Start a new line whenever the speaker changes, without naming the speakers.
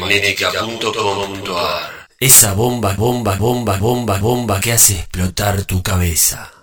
meneca.com.ar Esa bomba, bomba, bomba, bomba, bomba que hace explotar tu cabeza.